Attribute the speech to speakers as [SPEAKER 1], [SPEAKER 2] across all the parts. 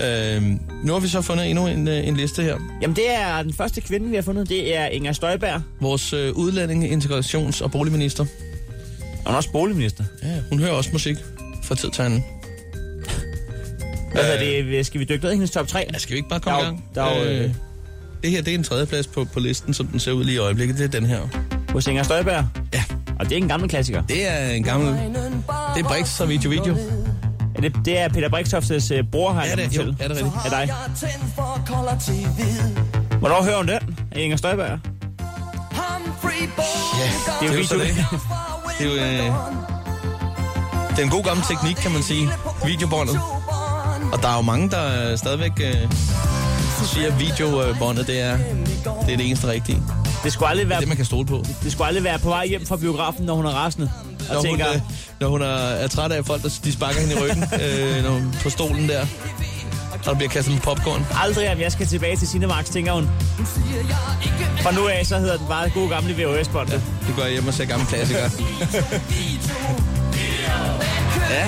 [SPEAKER 1] Øh, nu har vi så fundet endnu en, øh, en liste her.
[SPEAKER 2] Jamen, det er den første kvinde, vi har fundet. Det er Inger Støjberg.
[SPEAKER 1] Vores øh, udlændinge, integrations- og boligminister.
[SPEAKER 2] Og hun er også boligminister.
[SPEAKER 1] Ja, hun hører også musik fra tid til anden. Altså,
[SPEAKER 2] Hvad hedder det? Skal vi dykke ned i hendes top 3?
[SPEAKER 1] Ja, skal vi ikke bare komme i
[SPEAKER 2] Der er jo-
[SPEAKER 1] gang?
[SPEAKER 2] der er jo, øh,
[SPEAKER 1] det her det er en tredjeplads på, på listen, som den ser ud lige i øjeblikket. Det er den her.
[SPEAKER 2] Hos Inger Støjberg.
[SPEAKER 1] Ja,
[SPEAKER 2] Og det er en gammel klassiker.
[SPEAKER 1] det er en gammel... Det er Brix og Video Video.
[SPEAKER 2] Er det, det er Peter Brixtoftes øh, bror, har
[SPEAKER 1] Ja,
[SPEAKER 2] jeg
[SPEAKER 1] det,
[SPEAKER 2] lagt
[SPEAKER 1] jo,
[SPEAKER 2] mig
[SPEAKER 1] er
[SPEAKER 2] til.
[SPEAKER 1] det rigtigt?
[SPEAKER 2] Af dig. Hvornår hører hun den? Inger Støjberg.
[SPEAKER 1] Ja,
[SPEAKER 2] Det er jo
[SPEAKER 1] så
[SPEAKER 2] video.
[SPEAKER 1] Det er jo, øh, det er en god gammel teknik, kan man sige. Videobåndet. Og der er jo mange, der øh, stadigvæk øh, siger, at videobåndet det er, det er det eneste rigtige. Det
[SPEAKER 2] Det skulle, aldrig
[SPEAKER 1] er
[SPEAKER 2] være,
[SPEAKER 1] det, man kan stole på.
[SPEAKER 2] det skulle aldrig være på vej hjem fra biografen, når hun er rasende. Og
[SPEAKER 1] når hun,
[SPEAKER 2] tænker,
[SPEAKER 1] øh, når hun er, er træt af folk, der de sparker hende i ryggen øh, når hun, på stolen der. Og der bliver kastet med popcorn.
[SPEAKER 2] aldrig om jeg skal tilbage til Cinemax, tænker hun. Fra nu af, så hedder den bare gode gamle VHS-båndet.
[SPEAKER 1] Det går jeg hjem og ser gamle klassikere. ja,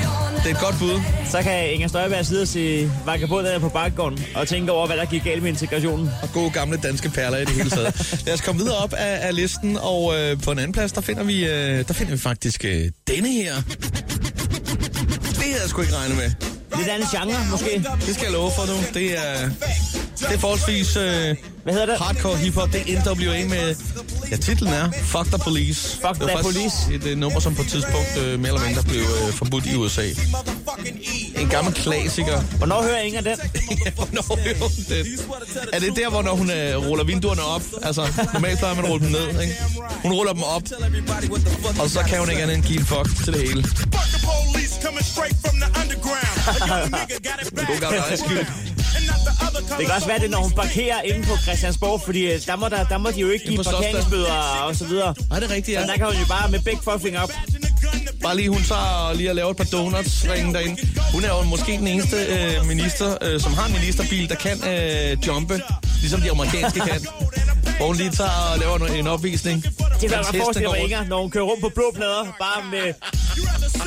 [SPEAKER 1] det er et godt bud.
[SPEAKER 2] Så kan Inger Støjberg sidde og se vagabunderne på bakkegården og tænke over, hvad der gik galt med integrationen.
[SPEAKER 1] Og gode gamle danske perler i det hele taget. Lad os komme videre op af, af listen, og øh, på en anden plads, der finder vi, øh, der finder vi faktisk øh, denne her. Det havde jeg sgu ikke regnet med.
[SPEAKER 2] Lidt andet genre, måske.
[SPEAKER 1] Det skal jeg love for nu. Det er, det er forholdsvis øh,
[SPEAKER 2] Hvad hedder det?
[SPEAKER 1] hardcore hiphop. Det er NWA med... Ja, titlen er Fuck the Police. Det
[SPEAKER 2] Fuck
[SPEAKER 1] var
[SPEAKER 2] the
[SPEAKER 1] faktisk
[SPEAKER 2] Police.
[SPEAKER 1] Et øh, nummer, som på et tidspunkt øh, mere eller mindre blev øh, forbudt i USA. En gammel klassiker.
[SPEAKER 2] Hvornår hører Inger den?
[SPEAKER 1] Ja, Hvornår hører hun det? Er det der, hvor når hun øh, ruller vinduerne op? Altså, normalt plejer man at rulle dem ned, ikke? Hun ruller dem op, og så kan hun ikke andet end give en fuck til det hele.
[SPEAKER 3] Fuck the police coming straight from the underground. A young nigga got it
[SPEAKER 1] God
[SPEAKER 3] bad.
[SPEAKER 1] gammel Ice Cube.
[SPEAKER 3] And not the other
[SPEAKER 2] Det kan også være, det er, når hun parkerer inde på Christiansborg, fordi øh, der må, der, der må de jo ikke
[SPEAKER 1] på
[SPEAKER 2] give
[SPEAKER 1] Slotsdagen.
[SPEAKER 2] parkeringsbøder og så videre.
[SPEAKER 1] Nej, det er rigtigt,
[SPEAKER 2] Men
[SPEAKER 1] ja.
[SPEAKER 2] der kan hun jo bare med begge fucking op.
[SPEAKER 1] Bare lige, hun tager og lige at lave et par donuts ringe derinde. Hun er jo måske den eneste øh, minister, øh, som har en ministerbil, der kan øh, jumpe, ligesom de amerikanske kan. Hvor hun lige tager og laver en- en opvisning.
[SPEAKER 2] Det kan
[SPEAKER 1] Hans
[SPEAKER 2] man
[SPEAKER 1] heste
[SPEAKER 2] forestille
[SPEAKER 1] går
[SPEAKER 2] mig,
[SPEAKER 1] rundt.
[SPEAKER 2] Inger, når hun kører rundt på blå plader, bare med
[SPEAKER 3] You rather see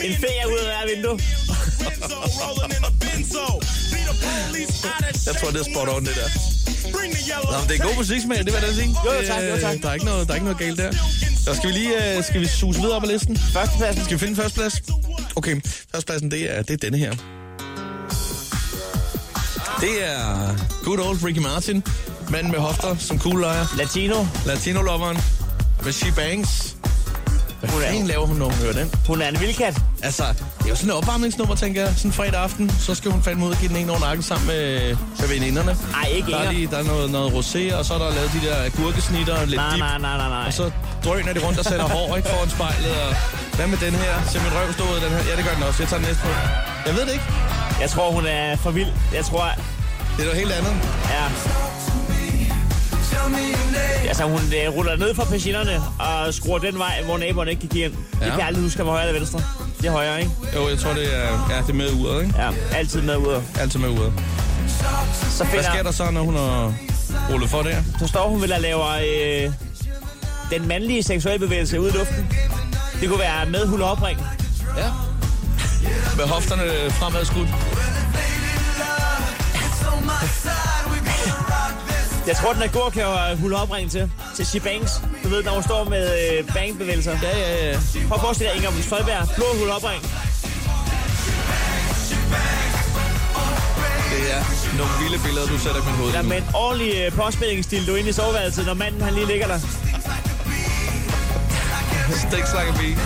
[SPEAKER 3] me
[SPEAKER 2] en
[SPEAKER 3] and
[SPEAKER 2] ferie ud af hver vindue.
[SPEAKER 3] Renzo rolling in a benzo. Be the police out of
[SPEAKER 1] Jeg tror, det er spot on, det der.
[SPEAKER 3] shape. Bring the yellow
[SPEAKER 1] Nå, men det er god musik, smag, det var det, jeg sige.
[SPEAKER 2] Jo, jo, tak, jo, tak.
[SPEAKER 1] Øh, Der er ikke noget, der er ikke noget galt der. Så skal vi lige øh, skal vi suse videre op ad listen?
[SPEAKER 2] Førstepladsen.
[SPEAKER 1] Skal vi finde førsteplads? Okay, førstepladsen, det er, det er denne her. Det er good old Ricky Martin. Manden med hofter som kuglelejer.
[SPEAKER 2] Latino.
[SPEAKER 1] Latino-loveren. Med She Bangs. Hvad
[SPEAKER 2] Hun er-
[SPEAKER 1] fanden laver hun, når hun hører den?
[SPEAKER 2] Hun er en vildkat.
[SPEAKER 1] Altså, det er jo sådan et opvarmningsnummer, tænker jeg. Sådan fredag aften, så skal hun fandme ud og give den ene over nakken sammen med, med veninderne.
[SPEAKER 2] Ej, ikke
[SPEAKER 1] Der er,
[SPEAKER 2] Inger.
[SPEAKER 1] lige, der er noget, noget rosé, og så er der lavet de der gurkesnitter og lidt
[SPEAKER 2] Nej,
[SPEAKER 1] dip.
[SPEAKER 2] nej, nej, nej, nej.
[SPEAKER 1] Og så drøner de rundt og sætter hår ikke foran spejlet. Og hvad med den her? Ser min røv stå ud af den her? Ja, det gør den også. Jeg tager den næste på. Jeg ved det ikke.
[SPEAKER 2] Jeg tror, hun er for vild. Jeg tror,
[SPEAKER 1] Det er noget helt andet.
[SPEAKER 2] ja. Altså, hun øh, ruller ned fra passionerne og skruer den vej, hvor naboerne ikke kan give ind. Ja. Det
[SPEAKER 1] Ja.
[SPEAKER 2] kan jeg aldrig huske, om det var højre eller venstre. Det er højre, ikke?
[SPEAKER 1] Jo, jeg tror, det er, ja, det er med uret, ikke?
[SPEAKER 2] Ja, altid med ud.
[SPEAKER 1] Altid med uret.
[SPEAKER 2] Så
[SPEAKER 1] Hvad
[SPEAKER 2] finder,
[SPEAKER 1] sker der så, når hun har rullet for der?
[SPEAKER 2] Så står hun vel og laver øh, den mandlige seksuelle bevægelse ud i luften. Det kunne være med hula opring.
[SPEAKER 1] Ja. Med hofterne fremad skudt.
[SPEAKER 2] Jeg tror, den er god at køre hula opring til. Til Shibangs. Du ved, når hun står med øh, bangbevægelser.
[SPEAKER 1] Ja, ja, ja.
[SPEAKER 2] Prøv at forestille dig, Inger Støjberg. Blå hula opring.
[SPEAKER 1] Det er nogle vilde billeder, du sætter i mit hoved.
[SPEAKER 2] Der
[SPEAKER 1] nu.
[SPEAKER 2] med en ordentlig øh, påspændingsstil, du er inde i soveværelset, når manden han lige ligger der.
[SPEAKER 1] Stik slakke bi.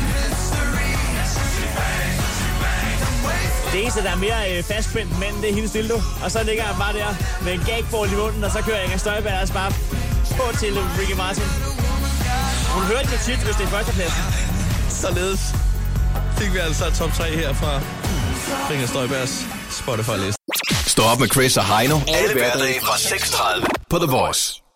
[SPEAKER 2] Det eneste, der er mere øh, fastspændt end manden, det er hendes dildo. Og så ligger han bare der med en gagball i munden, og så kører Inger Støjberg altså bare på til Ricky Martin. Hun hørte det tit, hvis det er førstepladsen.
[SPEAKER 1] Således fik vi altså top 3 her fra Inger Støjbergs Spotify-liste.
[SPEAKER 4] Stå op med Chris og Heino. Alle hverdage fra 6.30 på The Voice.